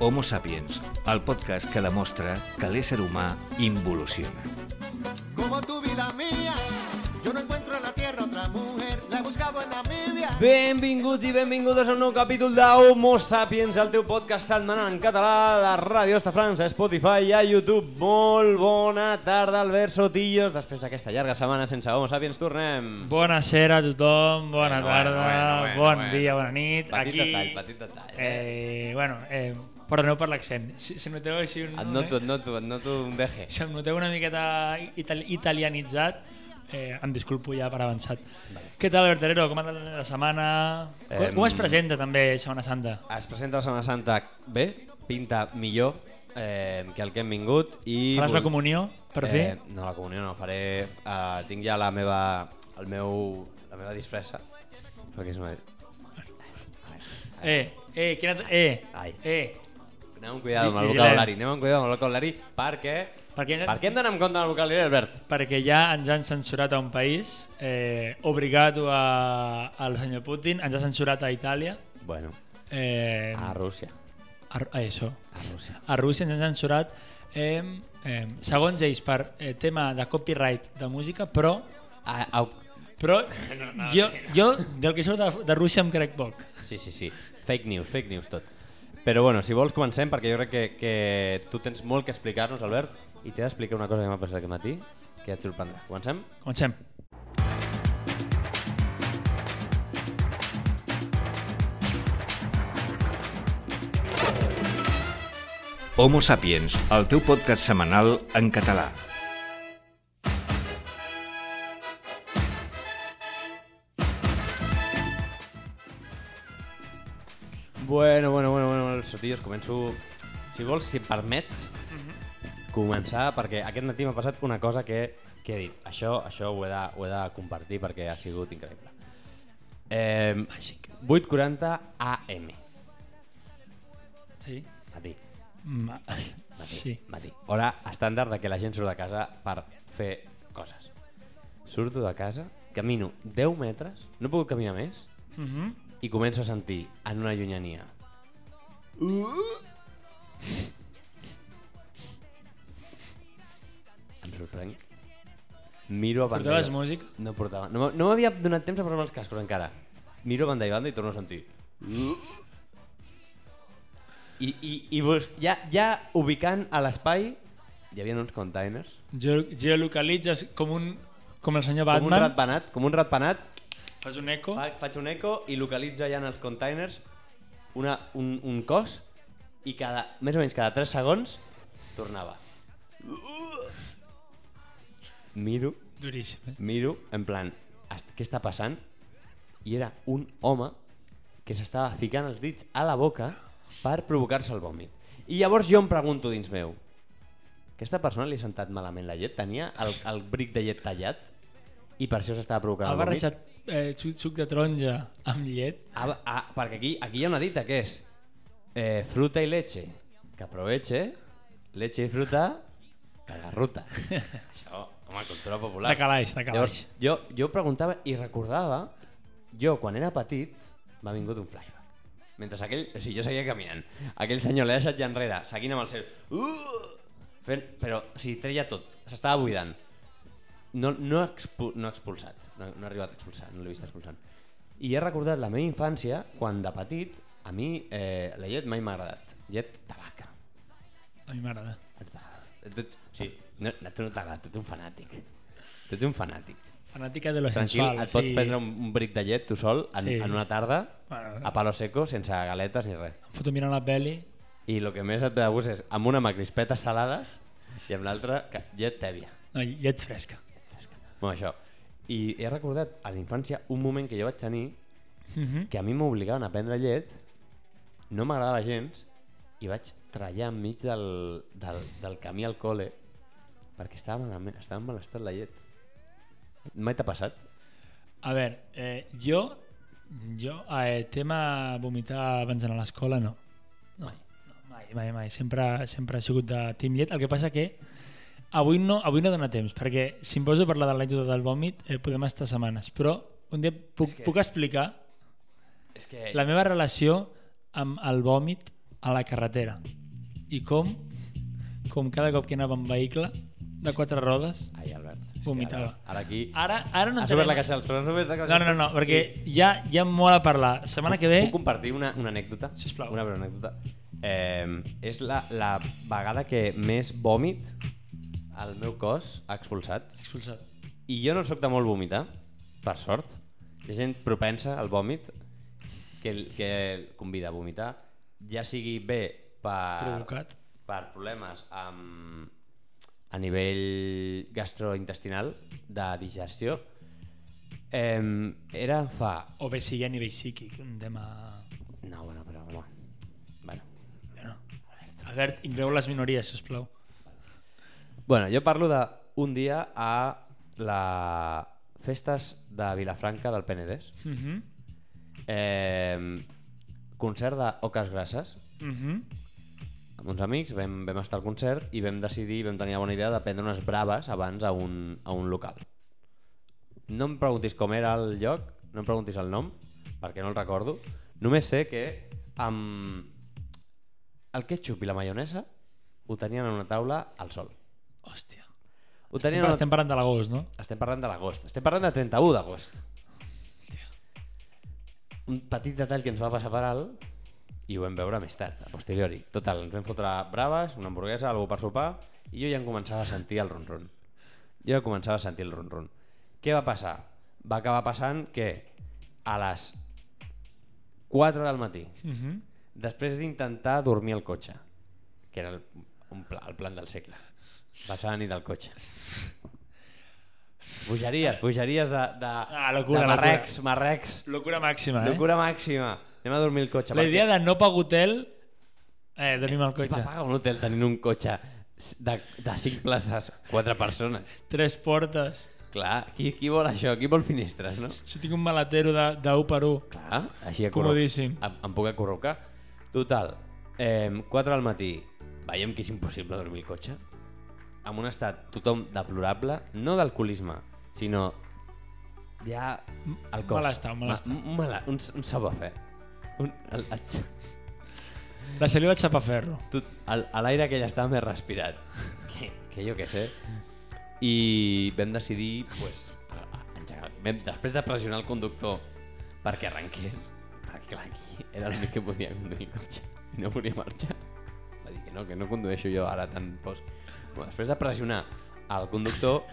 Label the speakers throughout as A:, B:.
A: Homo Sapiens, el podcast que demostra que l'ésser humà involuciona.
B: Como tu vida mía, yo no encuentro en la tierra otra mujer, la he buscado en Namibia.
C: Benvinguts i benvingudes a un nou capítol de Homo Sapiens, el teu podcast setmanal en català a la ràdio de França, Spotify i a YouTube. Molt bona tarda, Albert Sotillos. Després d'aquesta llarga setmana sense Homo Sapiens, tornem.
D: Buonasera a tothom, bona
C: Bueno,
D: tarda,
C: bueno, bueno,
D: bon
C: bueno.
D: dia, bona nit.
C: Petit
D: Aquí,
C: detall, petit detall.
D: Eh, bueno, eh, perdoneu per l'accent. Si, si em noteu així... Un,
C: Et noto, et noto, et noto un deje.
D: Si em noteu una miqueta itali italianitzat, eh, em disculpo ja per avançat. Què tal, Berterero? Com ha anat la setmana? Com,
C: Em-
D: com es presenta també Setmana Santa?
C: Es presenta la Setmana Santa bé, pinta millor eh, que el que hem vingut. I
D: Faràs
C: vol-
D: la comunió, per fi?
C: Eh, no, la comunió no, faré... Eh, tinc ja la meva, el meu, la meva disfressa. Però que és una...
D: Eh, eh, quina... Eh,
C: Ai.
D: eh.
C: Anem amb cuidado amb el
D: Vigilem.
C: vocabulari, anem amb cuidado amb el vocabulari perquè...
D: Perquè ens-
C: Per què hem d'anar amb compte amb el vocabulari, Albert?
D: perquè ja ens han censurat a un país, eh, obligat a, al senyor Putin, ens ha censurat a Itàlia,
C: Bueno,
D: eh,
C: a Rússia.
D: a, a, això.
C: A Rússia.
D: a Rússia ens han censurat, eh, eh, segons ells, per eh, tema de copyright de música, però,
C: A, a...
D: però no, no, jo, jo del que surt de, de Rússia em crec poc.
C: Sí, sí, sí. Fake news, fake news tot. Però bueno, si vols comencem, perquè jo crec que, que tu tens molt que explicar-nos, Albert, i t'he d'explicar una cosa que m'ha passat aquest matí, que et sorprendrà. Comencem?
D: Comencem.
A: Homo Sapiens, el teu podcast setmanal en català.
C: Bueno, bueno, bueno, bueno, els sotillos, començo... Si vols, si em permets, començar, perquè aquest matí m'ha passat una cosa que, que he dit. Això, això ho, he de, ho he de compartir perquè ha sigut increïble. Eh,
D: Màgic.
C: 8.40 AM.
D: Sí.
C: Matí,
D: Ma
C: matí,
D: sí.
C: matí. Hora estàndard de que la gent surt de casa per fer coses. Surto de casa, camino 10 metres, no he pogut caminar més,
D: Mm -hmm.
C: i començo a sentir en una llunyania em sorprenc miro a banda
D: Portaves
C: i-
D: música?
C: no portava no, m- no m'havia donat temps a posar-me els cascos encara miro a banda i banda i torno a sentir i, i, i bus, ja, ja ubicant a l'espai hi havia uns containers
D: Geo geolocalitzes com un com el senyor
C: com un
D: Batman,
C: ratpenat com un ratpenat
D: fas un eco.
C: Fa, faig un eco i localitzo allà en els containers una, un, un cos i cada, més o menys cada 3 segons tornava. Miro,
D: Duríssim. Eh?
C: miro, en plan, "Est- què està passant? I era un home que s'estava ficant els dits a la boca per provocar-se el vòmit. I llavors jo em pregunto dins meu, aquesta persona li ha sentat malament la llet? Tenia el, el bric de llet tallat? I per això s'estava provocant
D: Ha
C: el vòmit?
D: barrejat eh, suc, suc de taronja amb llet.
C: Ah, ah, perquè aquí, aquí hi ha una dita que és eh, fruta i leche, que aproveche, leche i fruta, que la ruta. Això, home, cultura popular.
D: De calaix, de
C: Llavors,
D: calaix.
C: jo, jo preguntava i recordava, jo quan era petit m'ha vingut un flashback. Mentre aquell, o sigui, jo seguia caminant, aquell senyor l'he deixat ja enrere, seguint amb el seu... Uh, fent, però, o sigui, treia tot, s'estava buidant. No, no, expu, no expulsat, no, no he arribat a expulsar, no l'he vist expulsant. I he recordat la meva infància, quan de petit, a mi eh, la llet mai m'ha agradat. Llet de vaca.
D: A mi m'agrada.
C: Et t'agrada. Tu ets- Sí, no, no, tu no t'agrada, tu ets un fanàtic. Tu ets un fanàtic.
D: Fanàtica de lo
C: Tranquil,
D: sensual.
C: et pots prendre un, un bric de llet tu sol en,
D: Sí.
C: en una tarda
D: Bueno.
C: a palo seco sense galetes ni res.
D: Foto mirant la peli.
C: I el que més et ve de gust és amb una mà crispetes salades i amb l'altra ca- llet tèbia.
D: No, llet fresca.
C: Bueno, això. I he recordat a la infància un moment que jo vaig tenir
D: Mm -hmm.
C: que a mi m'obligaven a prendre llet, no m'agradava gens i vaig trallar enmig del, del, del camí al col·le perquè estava malament, estava en mal estat la llet. Mai t'ha passat?
D: A veure, eh, jo, jo eh, tema vomitar abans d'anar a l'escola, no. No, no, mai, mai, mai. Sempre, sempre he sigut de Team Llet. El que passa que avui no, avui no dona temps, perquè si em poso a parlar de l'anècdota del vòmit eh, podem estar setmanes, però un dia puc, que... puc explicar
C: És que
D: la meva relació amb el vòmit a la carretera. I com, com cada cop que anava en vehicle de quatre rodes,
C: Ai, Albert. és que
D: Vomitava.
C: Ara, ara aquí...
D: ara, ara no
C: has obert la
D: entenem-
C: casa del tron, has obert la casa
D: No, no, no, no perquè ja hi ha molt a parlar. Setmana que ve...
C: Puc compartir una, una anècdota?
D: Sisplau.
C: Una breu anècdota. Eh, és la, la vegada que més vòmit el meu cos ha expulsat.
D: Expulsat.
C: I jo no sóc de molt vomitar, per sort. Hi ha gent propensa al vòmit que, el- que el convida a vomitar, ja sigui bé per,
D: Provocat.
C: per problemes amb, a nivell gastrointestinal de digestió. Eh, era fa...
D: O bé sigui a nivell psíquic, un tema...
C: No, bueno, però... Bueno, bueno
D: Bueno, Albert, inclou les minories, sisplau.
C: Bueno, jo parlo d'un dia a la festes de Vilafranca del Penedès.
D: Mhm.
C: Eh, concert de Oques Grasses.
D: Mhm.
C: Amb uns amics vam, vam estar al concert i vam decidir, vam tenir la bona idea de prendre unes braves abans a un, a un local. No em preguntis com era el lloc, no em preguntis el nom, perquè no el recordo. Només sé que amb el ketchup i la maionesa ho tenien en una taula al sol.
D: Hòstia.
C: Ho tenien en
D: Però
C: una
D: estem parlant de l'agost, no?
C: Estem parlant de l'agost. Estem parlant de 31 d'agost. Un petit detall que ens va passar per alt i ho vam veure més tard, a posteriori. Total, ens vam fotre braves, una hamburguesa, algú per sopar i jo ja em començava a sentir el ronron. Jo ja començava a sentir el ronron. Què va passar? Va acabar passant que a les 4 del matí,
D: Mhm.
C: després d'intentar dormir al cotxe, que era el, un pla, el plan del segle, passar la nit al cotxe. Bogeries, bogeries de, de,
D: Ah, locura,
C: de
D: locura.
C: marrecs, marrecs.
D: Locura màxima, eh?
C: Locura màxima. Anem a dormir al cotxe.
D: La idea de no pagar hotel... Eh, donim el
C: Qui
D: cotxe.
C: va pagar un hotel tenint un cotxe de, de cinc places, quatre persones?
D: Tres portes.
C: Clar, qui, qui vol això? Qui vol finestres, no?
D: Si tinc un maletero de- d'un per un.
C: Clar, així a
D: Comodíssim.
C: Em, em puc acurrucar. Total, eh, 4 del matí, veiem que és impossible dormir al cotxe. En un estat tothom deplorable, no d'alcoholisme, sinó ja el cos.
D: malestar, un malestar.
C: Ma- Un, mala, un, un sabafer. Un, el, el,
D: La saliva et xapa ferro.
C: tot, el- a l'aire que ja estava més respirat. Que, que jo què sé. I vam decidir, pues, a- a- engegar. Vam, després de pressionar el conductor perquè arrenqués, perquè clar, aquí era l'únic que podia conduir el cotxe i no volia marxar. Va dir que no, que no condueixo jo ara tan fos. Bueno, després de pressionar el conductor,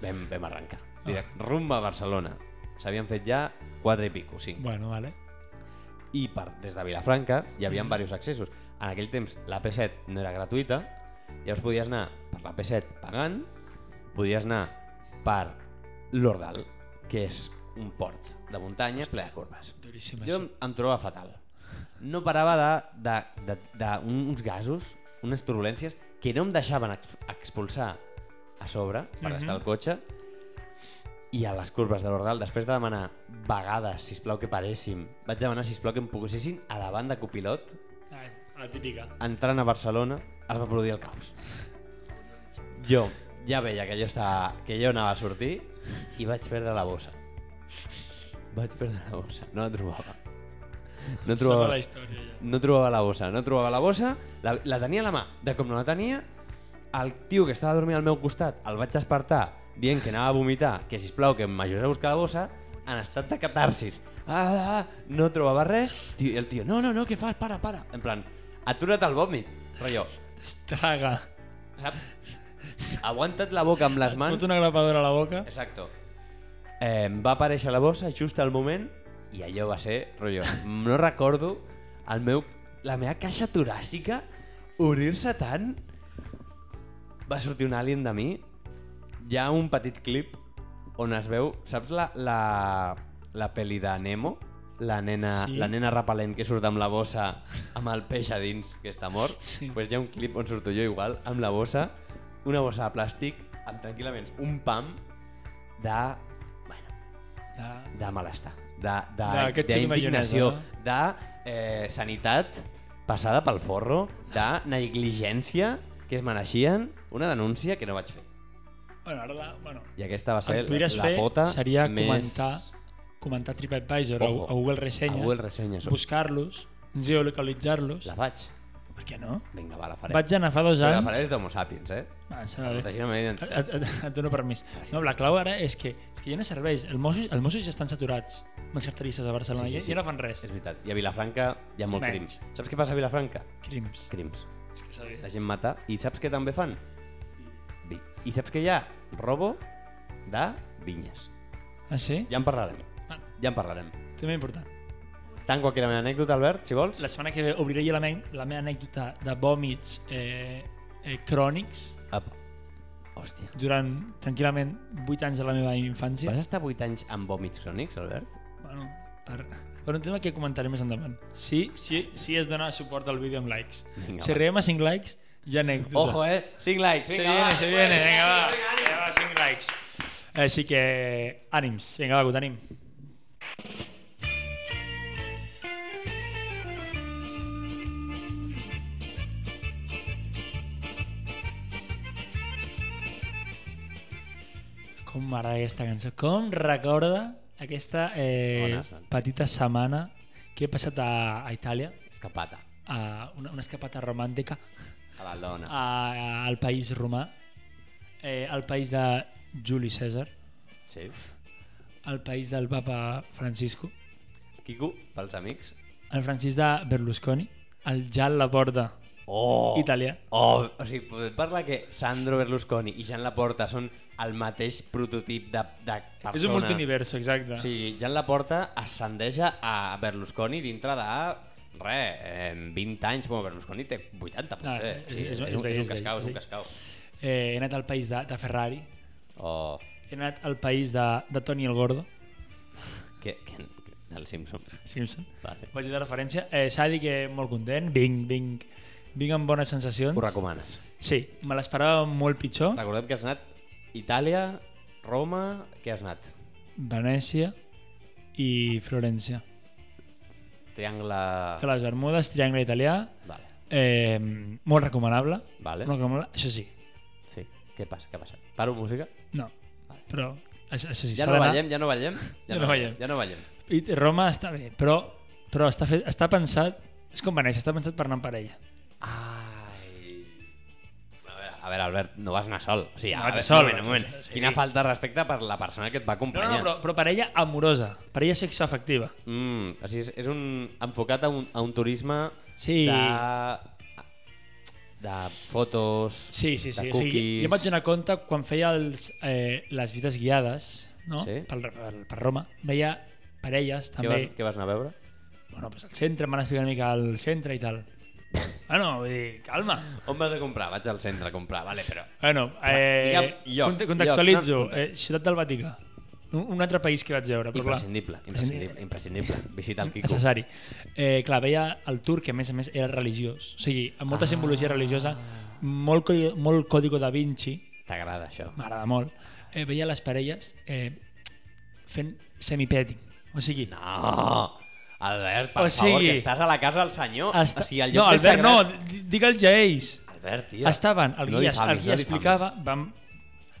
C: vam, vam arrencar. Direct, rumba a Barcelona. S'havien fet ja 4 i pico, 5
D: Bueno, vale.
C: i per, des de Vilafranca hi havia diversos accessos. En aquell temps la P7 no era gratuïta, llavors podies anar per la P7 pagant, podies anar per l'Ordal, que és un port de muntanya ple de corbes.
D: Duríssim,
C: Jo em, em trobava fatal. No parava de, de, de, de un- uns gasos, unes turbulències, que no em deixaven ex- expulsar a sobre per
D: Mhm.
C: estar al cotxe. I a les curves de l'Ordal, després de demanar vegades, sisplau, que paréssim, vaig demanar, sisplau, que em posessin a davant de copilot,
D: Ai, la típica.
C: entrant a Barcelona, es va produir el caos. Jo ja veia que jo, estava, que jo anava a sortir i vaig perdre la bossa. Vaig perdre la bossa, no la trobava. No
D: Sembla
C: trobava,
D: la història, ja.
C: no trobava la bossa, no trobava la bossa, la, la tenia a la mà. De com no la tenia, el tio que estava dormint al meu costat el vaig despertar dient que anava a vomitar, que sisplau que m'ajudés a buscar la bossa, en estat de catarsis. Ah, ah, ah, no trobava res, tio, i el tio, no, no, no, què fas, para, para. En plan, atura't el vòmit, rotllo,
D: Traga.
C: saps? Aguanta't la boca amb les mans.
D: Fot una grapadora a la boca.
C: Exacto. Eh, em va aparèixer la bossa just al moment i allò va ser, rotllo, no recordo el meu, la meva caixa toràcica obrir-se tant. Va sortir un alien de mi. Hi ha un petit clip on es veu, saps la, la, la pel·li de Nemo? La nena,
D: Sí.
C: la nena repel·lent que surt amb la bossa amb el peix a dins que està mort.
D: Sí.
C: Pues hi ha un clip on surto jo igual amb la bossa, una bossa de plàstic amb tranquil·lament un pam de, bueno,
D: Ah.
C: de malestar, de,
D: De
C: de,
D: que et xiqui
C: d'indignació,
D: maionesa,
C: de eh, sanitat passada pel forro, de negligència que es mereixien una denúncia que no vaig fer.
D: Bueno, ara la... Bueno,
C: I aquesta va ser
D: el que podries
C: la
D: fer
C: pota
D: seria
C: més...
D: comentar, comentar TripAdvisor o
C: Ojo.
D: a Google Ressenyes,
C: A Google Ressenyes.
D: buscar-los, geolocalitzar-los
C: La faig.
D: Per què no?
C: Vinga, va, la faré.
D: Vaig anar fa dos
C: Però la
D: anys... Eh,
C: faré de Homo sapiens, eh?
D: Ah, em sembla bé.
C: Protegir la eh? meva identitat.
D: Et, et, et dono permís. No, la clau ara és que, és que ja no serveix. Els Mossos, els Mossos ja estan saturats amb els carteristes a Barcelona.
C: Sí, sí,
D: Ja-
C: sí.
D: Ja no fan res.
C: És veritat. I a Vilafranca hi ha molt
D: eh. Menys.
C: crims. Saps què passa a Vilafranca?
D: Crims.
C: Crims.
D: És que s'ha
C: La
D: dit.
C: gent mata. I saps què també fan? Vi. I saps que hi ha robo de vinyes.
D: Ah, sí?
C: Ja en parlarem.
D: Ah.
C: Ja en parlarem.
D: Tema important.
C: Tanco aquí la meva anècdota, Albert, si vols.
D: La setmana que ve obriré jo la, me la meva anècdota de vòmits eh, eh, crònics
C: Apa. Hòstia.
D: durant tranquil·lament 8 anys de la meva infància.
C: Vas estar 8 anys amb vòmits crònics, Albert?
D: Bueno, per, per un tema que comentaré més endavant. Sí, sí, sí es dona suport al vídeo amb likes.
C: Vinga,
D: si
C: va.
D: arribem a 5 likes, hi ha anècdota.
C: Ojo, eh? 5 likes.
D: Se
C: vinga,
D: viene,
C: va.
D: se viene, eh. venga, va. Venga, va, 5 likes. Així que ànims, vinga, va, que ho tenim. Com m'agrada aquesta cançó. Com recorda aquesta eh,
C: Bones, bones.
D: petita setmana que he passat a, a Itàlia,
C: Escapata.
D: a una, una escapata romàntica
C: A la dona.
D: Ah. a, al país romà, eh, al país de Juli César,
C: Sí.
D: al país del papa Francisco,
C: Quico, pels amics.
D: al Francis de Berlusconi, al Jan Laporta,
C: Oh!
D: italià.
C: Oh, o sigui, podem parlar que Sandro Berlusconi i Jean Laporta són el mateix prototip de, de persona.
D: És un eh. multiverso, exacte.
C: O sigui, Jean Laporta ascendeja a Berlusconi dintre de re, eh, 20 anys. Bueno, Berlusconi té 80,
D: Ah,
C: potser.
D: és-
C: O sigui,
D: és-
C: un-
D: és vell,
C: un
D: és vell,
C: cascau, és
D: sí.
C: un cascau.
D: Eh, he anat al país de, de Ferrari,
C: Oh,
D: he anat al país de, de Tony el Gordo,
C: que, que, el Simpson.
D: Simpson.
C: Vale.
D: Vaig dir la referència. Eh, S'ha de dir que molt content, vinc, vinc, vinc amb bones sensacions.
C: Ho recomanes.
D: Sí, me l'esperava molt pitjor.
C: Recordem que has anat Itàlia, Roma, què has anat?
D: Venècia i Florència.
C: Triangle...
D: Que les Bermudes, triangle italià,
C: Vale,
D: Eh, molt recomanable.
C: Vale.
D: Molt recomanable. Això sí,
C: sí. Què passa? Què ha passat? Paro música?
D: no. Però això, això sí,
C: Ja
D: s'ha
C: no
D: d'anar.
C: ballem, ja no ballem.
D: Ja no ballem.
C: Ja no ballem.
D: I Roma està bé, però, però està, fet, està pensat... És com Venècia, està pensat per anar en parella.
C: Ai... A veure, a veure, Albert, no vas anar sol. O sigui,
D: No
C: a
D: vaig
C: veure,
D: sol,
C: un moment, un moment.
D: sí, sí.
C: Quina falta de respecte per la persona que et va
D: No,
C: acompanyar.
D: no, però, però parella amorosa, parella sexoafectiva.
C: Mm, o sigui, és, és un, enfocat a un, a un turisme
D: Sí.
C: de, de fotos,
D: Sí, sí, sí.
C: de
D: O
C: cookies...
D: sigui, jo em vaig donar compte quan feia els, eh, les vides guiades no?
C: Sí.
D: per, per, per Roma. Veia parelles
C: Què,
D: també.
C: vas, què vas anar a veure?
D: Bueno, pues al centre, em van explicar una mica al centre i tal. Bueno, vull dir, calma.
C: On vas a comprar? Vaig al centre a comprar, vale, però...
D: Bueno, Ah, eh,
C: digue'm lloc,
D: conte- contextualitzo.
C: lloc, no,
D: eh, Ciutat del Vaticà. Un, un altre país que vaig veure, però clar,
C: Imprescindible, imprescindible, imprescindible. Visita el Quico.
D: necessari. Eh, clar, veia el turc, que a més a més era religiós. O sigui, amb
C: Ah.
D: molta simbologia religiosa, molt, co- molt còdigo da Vinci,
C: T'agrada això?
D: m'agrada molt. Eh, veia les parelles eh, fent semipetting. O sigui, no,
C: No! Ah, Albert, per
D: O
C: favor,
D: sigui-
C: que estàs a la casa del senyor.
D: hasta...
C: O sigui, el
D: no
C: lloc és
D: Albert,
C: sagrat.
D: no, di- digue'ls a ells.
C: Albert, tio.
D: Estaven, el
C: No
D: guia,
C: difamis, no
D: el guia
C: difamis.
D: explicava, vam,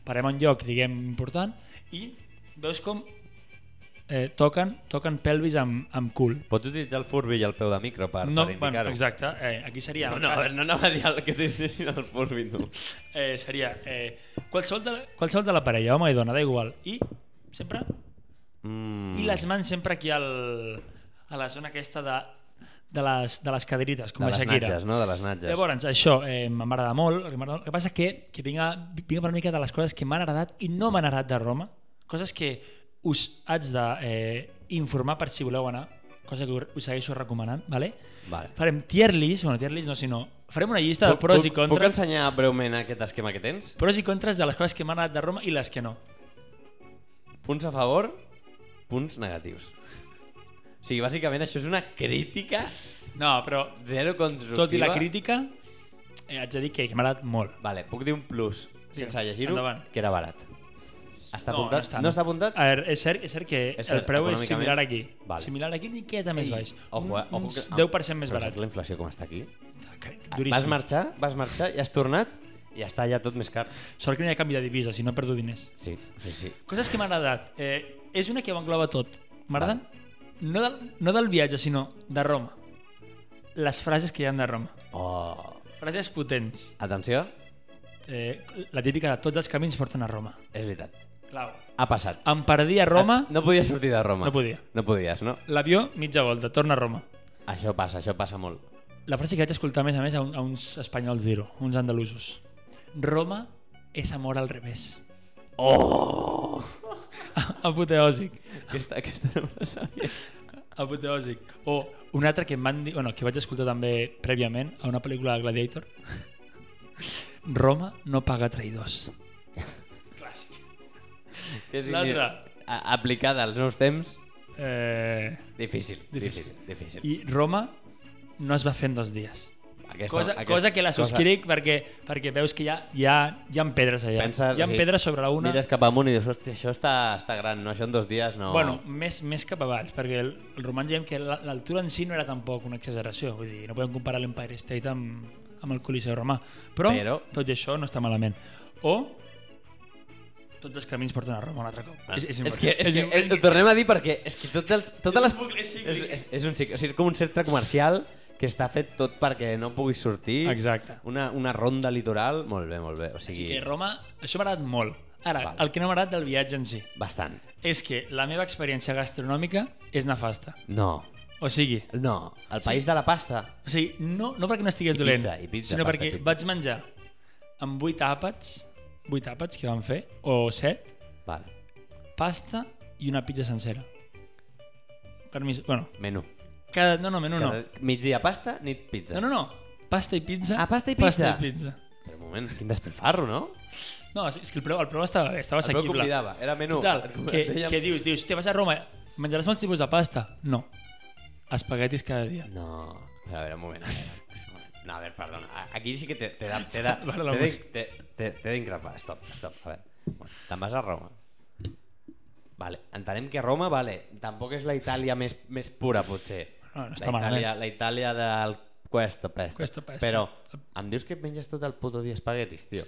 D: parem a un lloc, diguem, important, i veus com eh, toquen, toquen pelvis amb, amb cul.
C: Pots utilitzar el furbi i el peu de micro per,
D: No,
C: per
D: bueno,
C: indicar-ho.
D: exacte, eh, aquí seria...
C: No,
D: en
C: no, a
D: cas,
C: veure, no anava a dir el que t'utilitzessin el furbi, tu.
D: eh, seria eh, qualsevol, de la, qualsevol de la parella, home i dona, da igual. I sempre...
C: Mm.
D: Mm. I les mans sempre aquí al, a la zona aquesta de, de, les, de les caderites, com
C: de
D: la
C: les
D: Shakira.
C: natges, no? De les natges.
D: Llavors, això eh, m'agrada molt. El que m'agrada- el que passa que, que vinc, a, vinc a per una mica de les coses que m'han agradat i no m'han agradat de Roma. Coses que us haig d'informar per si voleu anar. Cosa que us segueixo recomanant, ¿vale?
C: Vale.
D: Farem tier list, bueno, tier list no, sinó farem una llista de pros
C: puc,
D: i
C: Puc
D: contres,
C: ensenyar breument aquest esquema que tens?
D: pros i contres de les coses que m'han agradat de Roma i les que no.
C: Punts a favor, punts negatius. O sigui, bàsicament això és una crítica
D: No, però
C: zero constructiva.
D: tot i la crítica, eh, haig de dir que, que m'ha agradat molt.
C: Vale, puc dir un plus, sense
D: Digue'm,
C: llegir-ho,
D: endavant.
C: que era barat. Està
D: No, no
C: apuntat?
D: està,
C: no
D: no.
C: està apuntat?
D: A veure, és cert, és cert que
C: És
D: és
C: cert,
D: el preu és
C: econòmicament.
D: similar aquí.
C: Vale.
D: Similar aquí, una miqueta més baix.
C: Ojo, eh?
D: Un,
C: Ojo
D: uns
C: que-
D: 10% més
C: Però
D: barat.
C: saps La inflació com està aquí?
D: Duríssim.
C: Vas marxar, vas marxar i has tornat i està ja tot més car.
D: Sort que no hi ha canvi de divisa, si no perdo diners.
C: Sí, sí, sí.
D: Coses que m'han agradat. Eh, és una que ho engloba tot. M'agraden no, del, no del viatge, sinó de Roma. les frases que hi ha de Roma.
C: Oh.
D: Frases potents.
C: Atenció,
D: Eh, la típica de tots els camins porten a Roma.
C: és veritat.
D: Clau.
C: Ha passat.
D: Em perdia a Roma,
C: No podies sortir de Roma.
D: No podia.
C: No podies, Ah, no?
D: l'avió mitja volta, torna a Roma.
C: Això passa, això passa molt.
D: La frase que vaig escoltar més a més a, un, a uns espanyols dir-ho, uns andalusos. Roma és amor al revés.
C: Oh!
D: Apoteòsic.
C: Aquesta, aquesta no me la sabia.
D: Apoteòsic. O un altre que em van dir, bueno, que vaig escoltar també prèviament a una pel·lícula de Gladiator. Roma no paga traïdors.
C: Que sí,
D: L'altra.
C: a- Aplicada als nous temps,
D: Eh,
C: difícil, difícil,
D: Difícil.
C: difícil.
D: I Roma no es va fer en dos dies.
C: Aquesta,
D: Cosa,
C: aquesta-
D: cosa que la
C: cosa-
D: subscric perquè, perquè veus que hi ha, hi ha, hi ha pedres allà.
C: Penses,
D: hi ha
C: sí.
D: pedres sobre la una.
C: Mires cap amunt i dius, hòstia, això està, està gran, no? Això en dos dies no...
D: Bueno, més, més cap avall, perquè el, el romans diem que la- l'altura en si no era tampoc una exageració, vull dir, no podem comparar l'Empire State amb, amb el Coliseu romà, però,
C: Però-
D: tot i això no està malament. O tots els camins porten a Roma un altre cop.
C: Ah. És, que, és, que, és, ho tornem a dir perquè és que tots els, totes les... és, és, és, un, cicle- o sigui, és com un centre comercial que està fet tot perquè no puguis sortir.
D: Exacte.
C: Una, una ronda litoral, molt bé, molt bé. O
D: Així
C: sigui,
D: que Roma, això m'ha agradat molt. Ara,
C: Val.
D: el que no m'ha agradat del viatge en si
C: bastant.
D: és que la meva experiència gastronòmica és nefasta.
C: No,
D: O sigui,
C: no, el país de la pasta.
D: O sigui, no, no perquè no estigués
C: I
D: dolent,
C: pizza, i pizza,
D: sinó
C: pasta,
D: perquè
C: pizza.
D: vaig menjar amb 8 àpats, 8 àpats que vam fer, o 7,
C: Vale,
D: pasta i una pizza sencera. Permís, bueno,
C: menú.
D: cada... No, no, menú no.
C: Cada- Migdia pasta, nit pizza.
D: No, no, no. Pasta i pizza.
C: Ah, pasta i
D: Pasta
C: pizza.
D: i pizza.
C: Però un moment, quin despilfarro, no?
D: No, és que el preu, el preu estava bé, estava
C: El preu
D: assequible.
C: convidava, era menú.
D: Total, que,
C: Dèiem-
D: que dius, dius, te vas a Roma, menjaràs molts tipus de pasta? No. Espaguetis cada dia.
C: No, però a veure, un moment. A veure. No, a ver, perdona. A- Aquí sí que te, te da... Te da te
D: Perdona,
C: de-
D: pues.
C: te, te, te d'increpar. Stop, stop. A veure. Bueno, Te'n vas a Roma. Vale, entenem que Roma, vale, tampoc és la Itàlia més, més pura, potser.
D: No, no està
C: la Itàlia,
D: malament.
C: la Itàlia del Cuesta Pesta.
D: Cuesta Pesta.
C: Però em dius que menges tot el puto dia espaguetis, tio.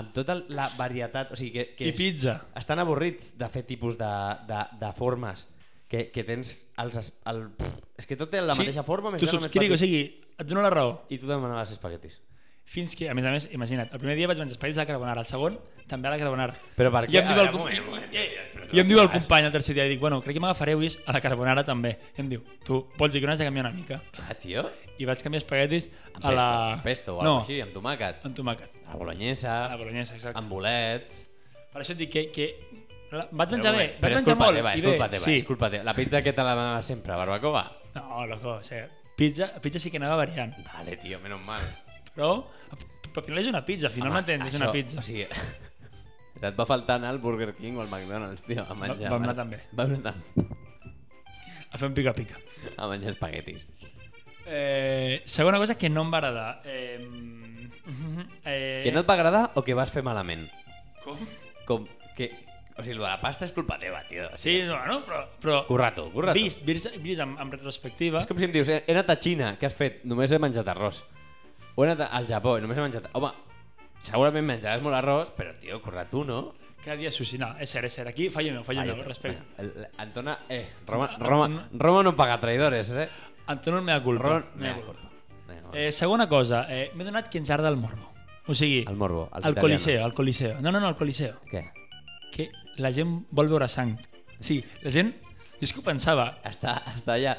C: Amb tota la varietat... O sigui, que, que
D: I pizza.
C: estan avorrits de fer tipus de, de, de formes que, que tens els, es- el, és que tot té la mateixa forma més
D: Tu
C: gran o més
D: subscric, o
C: petit.
D: sigui, et dono la raó.
C: i tu demanaves espaguetis
D: Fins que, a més a més, imagina't, el primer dia vaig menjar espaguetis a la carbonara, el segon també a la carbonara.
C: però per
D: I
C: què?
D: em diu
C: A
D: el,
C: veure, un moment, un moment, tio,
D: com- i em diu el company el tercer dia, i dic, bueno, crec que m'agafaré avui a la carbonara també. I em diu, tu vols dir que no has de canviar una mica?
C: clar, tio
D: I vaig canviar espaguetis
C: amb
D: a
C: pesto,
D: la...
C: amb pesto o
D: no,
C: alguna així, amb tomàquet
D: amb tomàquet.
C: a la boloñesa,
D: A la bolognesa, exacte.
C: amb bolets
D: Per això et dic que... que la... vaig
C: Però
D: menjar
C: un moment, però és culpa
D: bé, vaig Eh, menjar molt.
C: teva,
D: i
C: és
D: bé,
C: culpa teva,
D: sí.
C: és culpa teva. la pizza que te la demanaves sempre, barbacoa
D: No, loco, o sigui, pizza, pizza sí que anava variant,
C: vale, tio, menos mal
D: però... Però al final és una pizza, al final
C: Home,
D: m'entens, és una
C: això,
D: pizza.
C: o sigui, et va faltar anar al Burger King o al McDonald's, tio, a menjar.
D: vam anar també.
C: Vam anar també.
D: A fer un pica-pica.
C: a menjar espaguetis.
D: Eh, segona cosa que no em va agradar. Eh, mhm, eh,
C: Que no et va agradar o que vas fer malament?
D: Com?
C: Com que... O sigui, lo de la pasta és culpa teva, tio. O sigui,
D: Sí, no, no però... però
C: Currato, currato.
D: Vist, eh? vist, vist en, en retrospectiva...
C: És com si em dius, "Eh, he he anat a Xina, què has fet? Només he menjat arròs. O he anat a- al Japó, només he menjat... Home, segurament menjaràs molt arròs, però, tio, corre-tu, no?
D: Cada dia sushi. No, és cert, és cert. Aquí fallo meu, fallo meu, respecte.
C: El- el- Antona, eh, Roma, Roma, Roma no paga traïdores, eh?
D: Antonio, mea culpa.
C: Roma,
D: mea
C: Mea
D: culpa.
C: culpa. Mea culpa.
D: Eh, segona cosa, eh, m'he donat que ens arda el morbo. O sigui,
C: El morbo, als
D: al
C: italianos.
D: Coliseo, al Coliseo. No, no, no, al Coliseo.
C: Què?
D: Que la gent vol veure sang. O sigui, la gent... Jo és que ho pensava.
C: Està, està allà.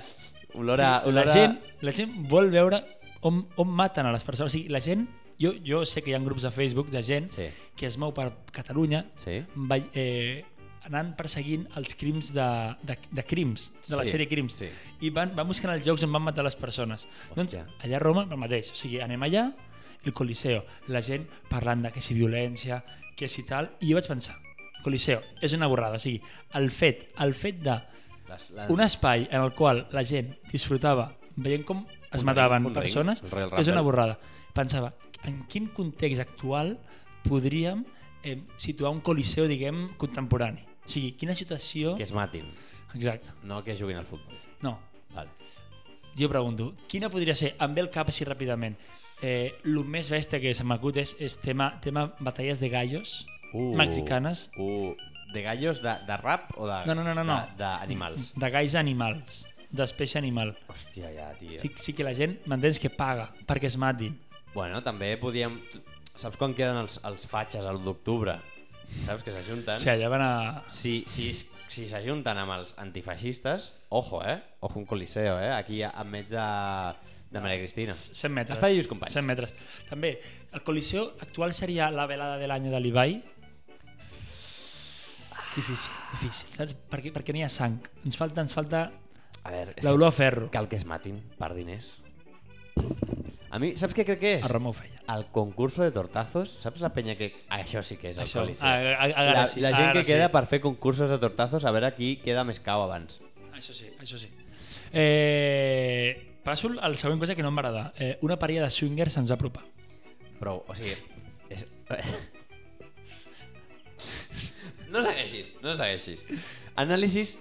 C: Olor a... Olor
D: la,
C: a...
D: gent, la gent vol veure on, on maten a les persones. O sigui, la gent... Jo, jo sé que hi ha grups de Facebook de gent
C: Sí.
D: que es mou per Catalunya
C: Sí.
D: vai, eh, anant perseguint els crims de, de, de crims, de la
C: Sí,
D: sèrie Crims.
C: sí.
D: I van, van buscant els jocs on van matar les persones. Doncs
C: Hòstia.
D: allà a Roma el mateix. O sigui, anem allà, el Coliseo, la gent parlant de que si violència, que si tal, i jo vaig pensar, Coliseo, és una borrada. O sigui, el fet, el fet de
C: Les- les-
D: un espai en el qual la gent disfrutava veient com es
C: Un
D: mataven
C: ring, un ring,
D: persones
C: el Royal
D: és
C: Rumble.
D: una borrada. Pensava, en quin context actual podríem eh, situar un coliseu, diguem, contemporani? O sigui, quina situació...
C: Que es matin,
D: Exacte.
C: no que juguin al futbol.
D: No,
C: Vale.
D: jo pregunto, quina podria ser, em ve el cap així ràpidament, eh, el més bèstia que se m'acut és, és tema, tema batalles de gallos
C: Uh.
D: mexicanes
C: Uh, de gallos, de, de rap o de...
D: No, no, no, no, no.
C: de- D'animals.
D: de gais animals. d'espècie animal.
C: Hòstia, ja, tio.
D: Sí, sí que la gent, m'entens, que paga perquè es matin.
C: Bueno, també podíem... Saps quan queden els, els fatxes a l'1 d'octubre? Saps que
D: O
C: s'ajunten?
D: sigui, allà van a...
C: Si, si, si s'ajunten amb els antifeixistes, ojo, eh? Ojo un coliseo, eh? Aquí a- enmig de, de Maria Cristina.
D: 100 metres.
C: Està Lluís Companys.
D: 100 metres. També, el Coliseu actual seria la velada de l'any de l'Ibai? Difícil, difícil. Saps? Perquè, perquè n'hi ha sang. Ens falta, ens falta
C: A veure, és
D: l'olor a ferro.
C: que cal que es matin per diners. A mi, saps què crec que és?
D: A Roma ho feia.
C: El concurso de tortazos, saps la penya que... Això sí que és el
D: Això,
C: coliseo.
D: ara- ara- ara
C: la,
D: sí,
C: la gent
D: ara
C: que
D: sí.
C: queda per fer concursos de tortazos, a veure qui queda més cau abans.
D: Això sí, això sí. Eh, passo al següent cosa que no em va agradar. Eh, una parella de swingers se'ns va apropar.
C: Prou, o sigui... És... No segueixis, no segueixis. Anàlisis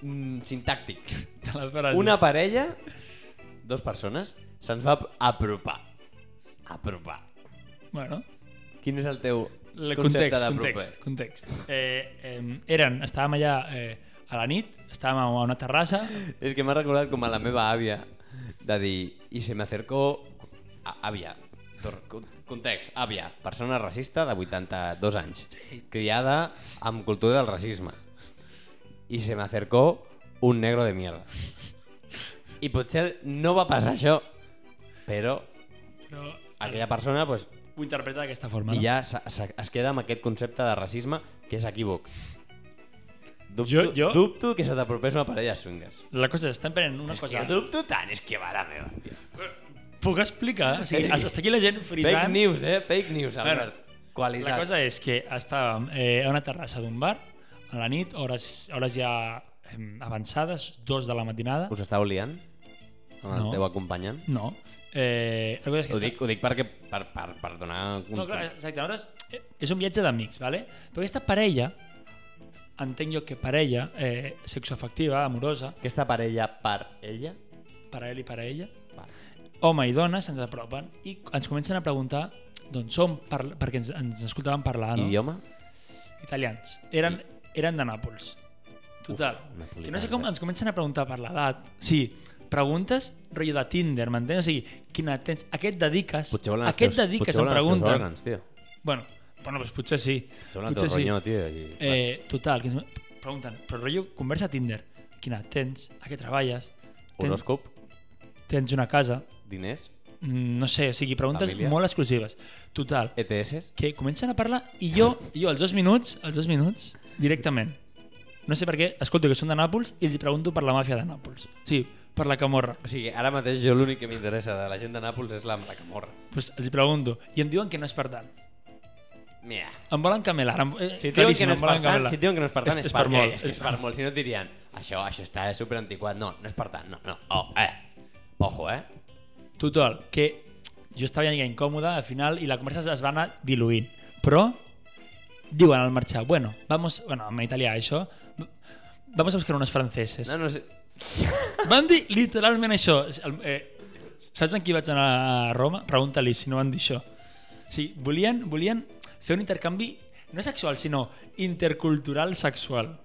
C: mm, sintàctic.
D: De la frase.
C: Una parella, dos persones, se'ns va apropar. Apropar.
D: Bueno,
C: Quin és el teu
D: el
C: concepte
D: context,
C: d'aproper?
D: context, context. Eh, eh, eren, estàvem allà eh, a la nit, estàvem a una terrassa,
C: És que m'ha recordat com a la meva àvia de dir, i se m'acercó a- àvia, Tor- con- context, àvia, persona racista de 82 anys, criada amb cultura del racisme. I se m'acercó un negro de mierda. I potser no va passar això, però
D: però eh,
C: aquella persona pues,
D: ho interpreta d'aquesta forma.
C: i
D: No?
C: ja se- se- es queda amb aquest concepte de racisme que és equívoc. Dubto,
D: Jo- jo-
C: dubto que se t'apropés una parella de swingers.
D: La cosa és, estan prenent una
C: És que
D: cosa...
C: jo dubto tant, és que va la meva. Tio.
D: Puc explicar? O sigui,
C: És que-
D: està aquí la gent frisant...
C: Fake news, eh? Fake news, Albert. Qualitat.
D: La cosa és que estàvem eh, a una terrassa d'un bar, a la nit, hores, hores ja em, avançades, dos de la matinada.
C: Us estàveu liant? Amb el
D: No.
C: teu acompanyant?
D: No. Eh, la cosa és que
C: Ho
D: està-
C: dic, ho dic perquè, per, per, per donar... Un...
D: No, clar, exacte. Nosaltres, eh, és un viatge d'amics, ¿vale? però aquesta parella, entenc jo que parella, eh, sexoafectiva, amorosa,
C: Aquesta parella per ella?
D: per a ell i per a ella,
C: Va.
D: home i dona se'ns apropen i ens comencen a preguntar d'on som, per, perquè ens, ens escoltaven parlar, Ah, no?
C: Idioma?
D: Italians. Eren, eren de Nàpols. Total.
C: napolitans,
D: que no sé com
C: eh?
D: ens comencen a preguntar per l'edat. Sí, preguntes rotllo de Tinder, m'entens? O sigui, quina tens? A què et dediques?
C: Potser volen
D: A
C: els
D: què et
C: teus-
D: dediques?
C: potser
D: Em
C: volen els teus
D: pregunten.
C: Òrgans, tio.
D: Bueno, bueno, doncs potser sí.
C: Potser volen el teu ronyo, tio. I...
D: Eh, total, que ens pregunten, però rotllo, conversa a Tinder. Quina edat tens? A què treballes? Ten-
C: Horòscop?
D: Tens una casa?
C: Diners?
D: Mm, No sé, o sigui, preguntes
C: Família? Eh.
D: molt exclusives. Total,
C: E ETS?
D: que comencen a parlar i jo, jo als dos minuts, als dos minuts, directament. No sé per què, escolto que són de Nàpols i els pregunto per la màfia de Nàpols. Sí, per la camorra.
C: O sigui, ara mateix jo l'únic que m'interessa de la gent de Nàpols és la Mracamorra.
D: Pues els pregunto i em diuen que no és per tant.
C: Mira.
D: Em volen camelar. Em, eh,
C: Si et diuen, que
D: claríssim,
C: no és
D: em
C: per
D: volen
C: tant,
D: camelar.
C: si et diuen que no és per tant, és,
D: és, per molt.
C: És, que és per molt. Si no et dirien, això, això està super antiquat. No, no és per tant. No, no. Oh, eh. Ojo, eh.
D: Total, que jo estava ja incòmode al final i la conversa es va anar diluint. Però diuen al marxar, bueno, vamos, bueno, en italià això, vamos a buscar unos franceses.
C: No, no sé.
D: Van dir literalment això. El- Eh, saps amb qui vaig anar a Roma? Pregunta-li si no van dir això. Sí, volien, volien fer un intercanvi no sexual, sinó intercultural sexual.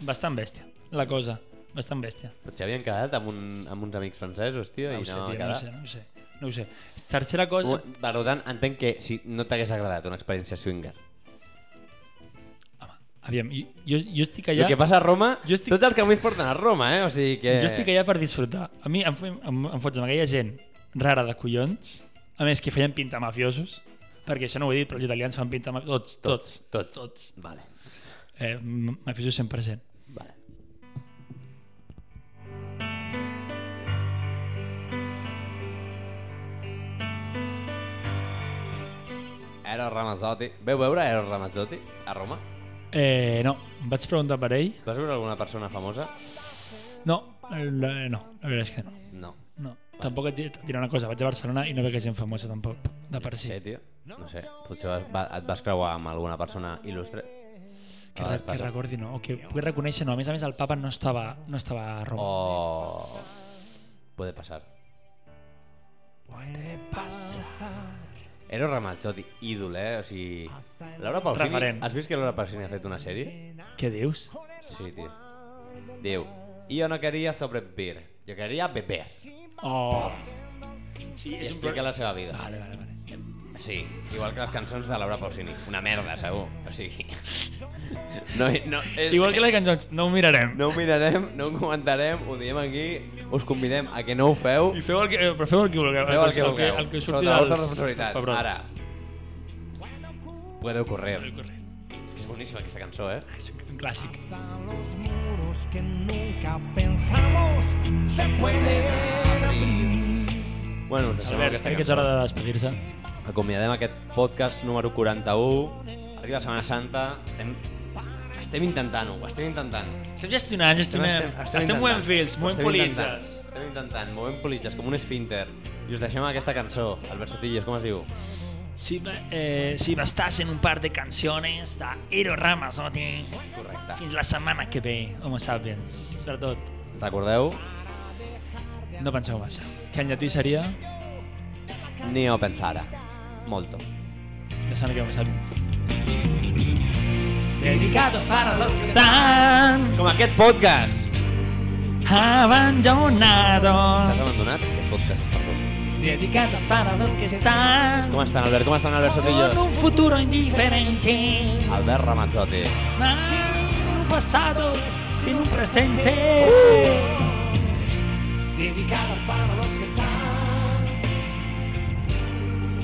D: Bastant bèstia, la cosa. Bastant bèstia.
C: Potser havien quedat amb, un, amb uns amics francesos, tio,
D: No ho
C: i
D: sé,
C: no,
D: tio,
C: ha
D: no ho
C: quedat.
D: sé, no ho sé. No ho sé. Tercera cosa...
C: Un- Per tant, entenc que si no t'hagués agradat una experiència swinger.
D: Aviam, jo, jo, jo estic
C: Ja.
D: allà...
C: El que passa a Roma,
D: Jo estic-
C: tots els camins porten a Roma, eh? O sigui que...
D: Jo estic allà per disfrutar. A mi em, fem- em, em fots amb aquella gent rara de collons, a més que feien pinta mafiosos, perquè això no ho he dit, però els italians fan pinta mafiosos. Tots, tots.
C: Tots.
D: tots.
C: Vale.
D: Eh, m- mafiosos 100%.
C: vale. Eros Ramazzotti. Veu veure Eros Ramazzotti a Roma?
D: Eh, no, em vaig preguntar per ell.
C: Vas veure alguna persona famosa?
D: No, eh, la, no, la veritat és que no.
C: No.
D: no. Tampoc et di- et diré una cosa, vaig a Barcelona i no veig gent famosa tampoc, de per si.
C: Sí, tio. No sé, potser vas, va, et vas creuar amb alguna persona il·lustre.
D: Que,
C: Ah,
D: re,
C: et
D: que
C: passa.
D: recordi, no? O que pugui reconèixer, no? A més a més, el papa no estava, no estava a Roma.
C: O... Puede pasar. Eros Ramazzotti, ídol, eh? O sigui... Laura Pausini...
D: Referent.
C: Oh. Has vist que Laura Pausini ha fet una sèrie?
D: Què dius?
C: Sí, tio. Diu, I jo no queria sobrevivir. Jo queria beber.
D: Oh. Sí,
C: I
D: és un
C: explica la seva vida.
D: Vale, vale, vale.
C: Sí, igual que les cançons de Laura Pausini. Una merda, segur. O sigui... No, no, és...
D: Igual que les cançons, no ho mirarem.
C: No ho mirarem, no ho comentarem, ho diem aquí, us convidem a que no ho feu.
D: I feu el que, eh, però feu el que vulgueu.
C: Feu el que
D: El que,
C: vulgueu.
D: el que surti
C: Sota la vostra
D: dels,
C: responsabilitat.
D: dels pebrots.
C: Ara. Puede correr.
D: Podeu correr.
C: És que és boníssima aquesta cançó, eh?
D: És un clàssic.
E: Hasta los muros que nunca pensamos se pueden abrir.
C: Bueno, us deixem amb aquesta
D: Albert, crec que és
C: cançó.
D: hora de despedir-se.
C: Acomiadem aquest podcast número 41. Arriba Setmana Santa. Estem, estem intentant-ho, ho estem intentant.
D: Estem gestionant, gestionem. Estem movent
C: intentant.
D: fils,
C: Ho
D: movent
C: estem intentant.
D: politzes.
C: Estem intentant, movent politzes, com un esfínter. I us deixem amb aquesta cançó, Albert Sotillos, com es diu?
D: Si, va- eh, si bastas en un par de canciones de Hiro Ramazotti,
C: Correcte.
D: fins la setmana que ve, homo sapiens. Sobretot,
C: Recordeu,
D: no penseu massa. Que en llatí seria
C: neo pensara. Molto.
D: la setmana que ve, homo sapiens. Dedicados para los que están
C: Com aquest podcast! Estàs
D: abandonados.
C: abandonat? Aquest podcast està tot.
D: Dedicados para los que están
C: Com estan, Albert? Com estan, Albert
D: con
C: Sotillos?
D: un futuro indiferente.
C: Albert Ramazzotti.
D: Sin un pasado, sin un presente.
E: Dedicadas para los que están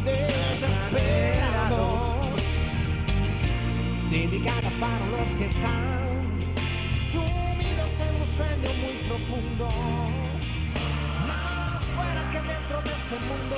E: desesperados. Dedicadas para los que están sumidos en un sueño muy profundo. Más fuera que dentro de este mundo.